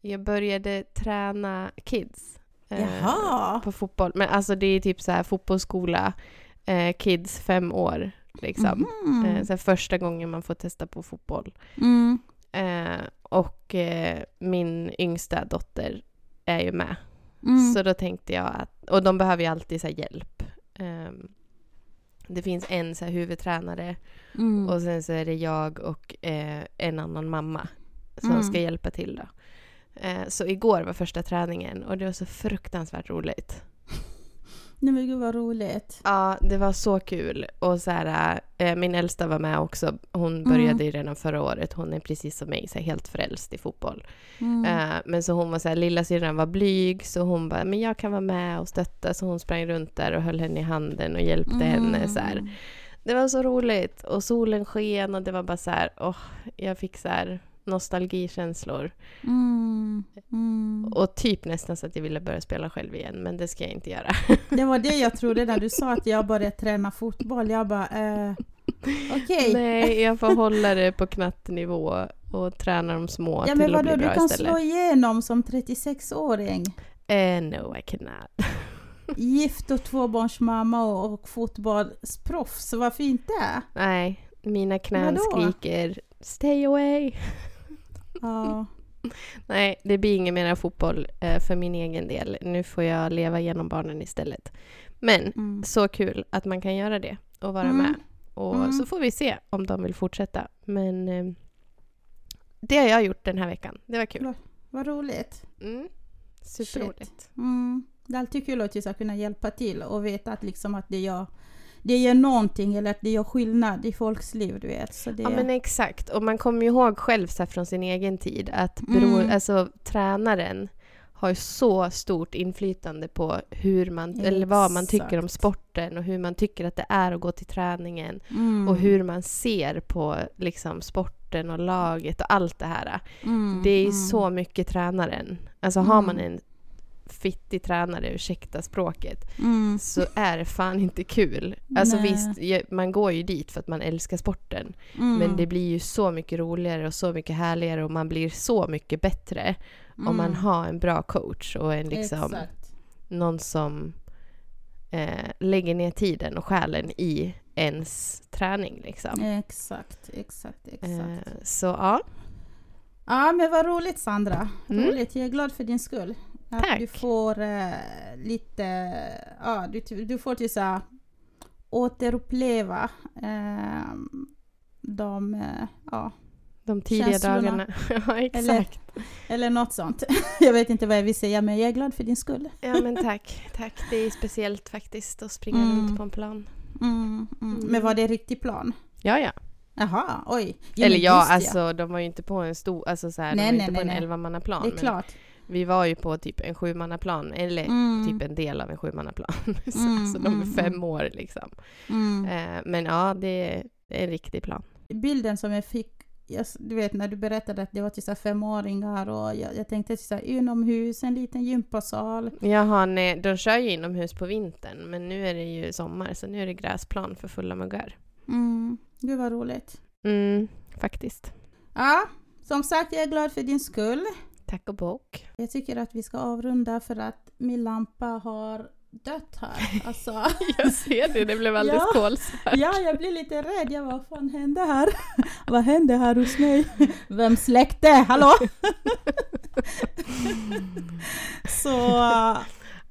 [SPEAKER 2] jag började träna kids. eh,
[SPEAKER 1] Jaha!
[SPEAKER 2] på fotboll. Men alltså det är typ så här fotbollsskola, eh, kids fem år liksom. Eh,
[SPEAKER 1] Mm.
[SPEAKER 2] så här första gången man får testa på fotboll.
[SPEAKER 1] Mm.
[SPEAKER 2] Eh, och eh, min yngsta dotter är ju med.
[SPEAKER 1] Mm.
[SPEAKER 2] Så då tänkte jag att, och de behöver ju alltid så här hjälp. Ehm, det finns en så här huvudtränare
[SPEAKER 1] Mm.
[SPEAKER 2] och sen så är det jag och eh, en annan mamma som
[SPEAKER 1] Mm.
[SPEAKER 2] ska hjälpa till då. Eh, så igår var första träningen och det var så fruktansvärt roligt.
[SPEAKER 1] Nej men gud vad roligt.
[SPEAKER 2] Ja, det var så kul. Och så här, eh, min äldsta var med också. Hon
[SPEAKER 1] Mm.
[SPEAKER 2] började ju redan förra året. Hon är precis som mig, så här, helt frälst i fotboll.
[SPEAKER 1] Mm.
[SPEAKER 2] Eh, men så hon var så här, lilla syrran var blyg, så hon bara, men jag kan vara med och stötta. Så hon sprang runt där och höll henne i handen och hjälpte
[SPEAKER 1] Mm.
[SPEAKER 2] henne. eh, Så här. Det var så roligt. Och solen sken och det var bara så här, åh, jag fick så här nostalgikänslor.
[SPEAKER 1] Mm. Mm.
[SPEAKER 2] Och typ nästan så att jag ville börja spela själv igen, men det ska jag inte göra.
[SPEAKER 1] Det var det jag trodde när du sa att jag började träna fotboll. Jag bara, eh, okej.
[SPEAKER 2] Nej, jag får hålla det på knattnivå och träna de små
[SPEAKER 1] Ja men
[SPEAKER 2] till att
[SPEAKER 1] vadå,
[SPEAKER 2] bli
[SPEAKER 1] du
[SPEAKER 2] bra
[SPEAKER 1] kan
[SPEAKER 2] istället.
[SPEAKER 1] slå igenom som 36-åring.
[SPEAKER 2] Eh, no, I cannot.
[SPEAKER 1] Gift och tvåbarnsmamma och, och fotbollsproffs, varför inte?
[SPEAKER 2] Nej, mina knän
[SPEAKER 1] Vadå?
[SPEAKER 2] skriker stay away. [laughs]
[SPEAKER 1] Ja.
[SPEAKER 2] Nej, det blir ingen mera fotboll eh, för min egen del. Nu får jag leva genom barnen istället. Men
[SPEAKER 1] Mm.
[SPEAKER 2] så kul att man kan göra det och vara
[SPEAKER 1] Mm.
[SPEAKER 2] med. Och
[SPEAKER 1] Mm.
[SPEAKER 2] så får vi se om de vill fortsätta. Men eh, det har jag gjort den här veckan. Det var kul.
[SPEAKER 1] Vad roligt.
[SPEAKER 2] Mm. Superroligt.
[SPEAKER 1] Mm. Det är alltid kul att just kunna hjälpa till och veta att, liksom att det, gör, det gör någonting eller att det gör skillnad i folks liv. Du vet. Så det,
[SPEAKER 2] Ja men exakt. Och man kommer ju ihåg själv så här, från sin egen tid att bero,
[SPEAKER 1] Mm.
[SPEAKER 2] alltså, tränaren har ju så stort inflytande på hur man, eller vad man tycker om
[SPEAKER 1] Exakt.
[SPEAKER 2] sporten och hur man tycker att det är att gå till träningen.
[SPEAKER 1] mm.
[SPEAKER 2] Och hur man ser på liksom, sporten och laget och allt det här.
[SPEAKER 1] Mm,
[SPEAKER 2] Det är
[SPEAKER 1] mm.
[SPEAKER 2] så mycket tränaren. Alltså har man
[SPEAKER 1] Mm.
[SPEAKER 2] en fittig tränare, ursäkta språket,
[SPEAKER 1] Mm.
[SPEAKER 2] så är det fan inte kul. Alltså
[SPEAKER 1] Nej.
[SPEAKER 2] visst, ju- man går ju dit för att man älskar sporten.
[SPEAKER 1] Mm.
[SPEAKER 2] Men det blir ju så mycket roligare och så mycket härligare och man blir så mycket bättre om man
[SPEAKER 1] Mm.
[SPEAKER 2] har en bra coach och en, liksom,
[SPEAKER 1] Exakt.
[SPEAKER 2] någon som eh, lägger ner tiden och själen i ens träning. Liksom.
[SPEAKER 1] Exakt, exakt, exakt.
[SPEAKER 2] Eh, Så ja,
[SPEAKER 1] Ja men vad roligt Sandra.
[SPEAKER 2] Mm.
[SPEAKER 1] Roligt. Jag är glad för din skull. Att
[SPEAKER 2] Tack.
[SPEAKER 1] du får eh, lite, ja du, du får till så här, återuppleva eh, de, eh, ja,
[SPEAKER 2] de tidiga
[SPEAKER 1] Känslorna.
[SPEAKER 2] dagarna. [laughs] ja,
[SPEAKER 1] eller,
[SPEAKER 2] exakt.
[SPEAKER 1] eller något sånt. [laughs] jag vet inte vad jag vill säga men jag är glad för din skull.
[SPEAKER 2] Ja, men tack. Tack. Det är speciellt faktiskt att springa
[SPEAKER 1] Mm.
[SPEAKER 2] runt på en plan.
[SPEAKER 1] Mm, mm.
[SPEAKER 2] Mm.
[SPEAKER 1] Men var det en riktig plan?
[SPEAKER 2] Ja, ja.
[SPEAKER 1] Jaha, oj. Jo,
[SPEAKER 2] Eller
[SPEAKER 1] men
[SPEAKER 2] ja,
[SPEAKER 1] just
[SPEAKER 2] alltså de var ju inte på en stor, alltså så här,
[SPEAKER 1] Nej,
[SPEAKER 2] de var ju
[SPEAKER 1] nej,
[SPEAKER 2] inte på
[SPEAKER 1] nej,
[SPEAKER 2] en
[SPEAKER 1] nej.
[SPEAKER 2] elvamannaplan.
[SPEAKER 1] Det är
[SPEAKER 2] men
[SPEAKER 1] klart.
[SPEAKER 2] Vi var ju på typ en sjumannaplan, eller
[SPEAKER 1] Mm.
[SPEAKER 2] typ en del av en sjumannaplan. [laughs] så,
[SPEAKER 1] Mm,
[SPEAKER 2] så de är
[SPEAKER 1] mm,
[SPEAKER 2] fem
[SPEAKER 1] mm.
[SPEAKER 2] år liksom.
[SPEAKER 1] Mm.
[SPEAKER 2] Eh, men ja, det är en riktig plan.
[SPEAKER 1] bilden som jag fick, jag, du vet när du berättade att det var till så här femåringar och jag, jag tänkte till så här, inomhus, en liten gympasal.
[SPEAKER 2] Jaha, nej, de kör ju inomhus på vintern, men nu är det ju sommar, så nu är det gräsplan för fulla muggar.
[SPEAKER 1] Mm, gud vad roligt.
[SPEAKER 2] Mm, faktiskt.
[SPEAKER 1] Ja, som sagt jag är glad för din skull.
[SPEAKER 2] Tack och bock. [laughs]
[SPEAKER 1] [laughs] Jag tycker att vi ska avrunda för att min lampa har dött här. Alltså,
[SPEAKER 2] Jag ser det, det blev alldeles
[SPEAKER 1] Ja.
[SPEAKER 2] kolsvart.
[SPEAKER 1] [laughs] ja, jag blir lite rädd. Jag bara, vad fan hände här? [laughs] Vad hände här hos mig? [laughs] Vem släckte? [laughs] Hallå? Så,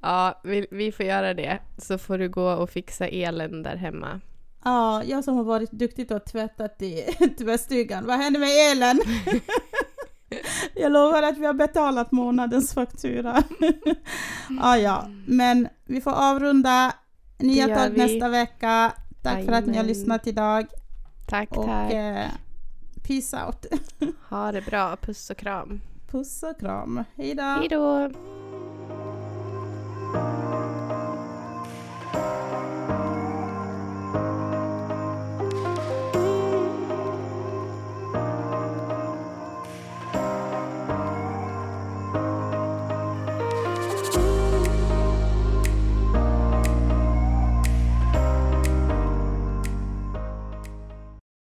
[SPEAKER 2] Ja, vi, vi får göra det. Så får du gå och fixa elen där hemma.
[SPEAKER 1] Ja, jag som har varit duktig och tvättat i [laughs] tvättstugan. Vad händer
[SPEAKER 2] [laughs]
[SPEAKER 1] med elen? jag lovar att vi har betalat månadens faktura. [laughs] ja, ja, men vi får avrunda. Nya
[SPEAKER 2] Det gör
[SPEAKER 1] tag
[SPEAKER 2] vi.
[SPEAKER 1] nästa vecka. Tack för att ni har
[SPEAKER 2] Jajamän.
[SPEAKER 1] lyssnat idag.
[SPEAKER 2] Tack,
[SPEAKER 1] Och
[SPEAKER 2] tack.
[SPEAKER 1] eh, peace out.
[SPEAKER 2] Ha det bra. Puss och kram.
[SPEAKER 1] Puss och kram. Hej då.
[SPEAKER 2] Hej då!